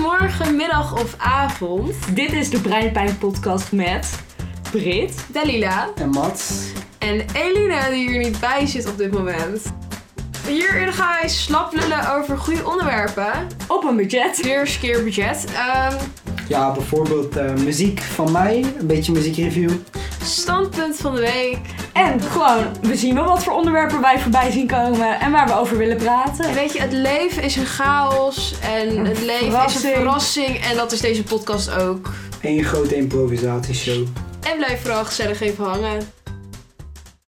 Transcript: Morgen, of avond. Dit is de Breinpijn podcast met Brit. Dalila En Mats. en Elina die hier niet bij zit op dit moment. Hierin gaan wij slap lullen over goede onderwerpen. Op een budget. Weer eens een keer budget. Ehm, Ja, bijvoorbeeld eh, muziek van mij. Een beetje muziekreview. standpunt van de week. En gewoon, we zien wel wat voor onderwerpen wij voorbij zien komen en waar we over willen En praten. weet je, het leven is een chaos en het leven is een verrassing. verrassing. En dat is deze podcast ook. Eén grote improvisatieshow. En blijf vooral gezellig even hangen.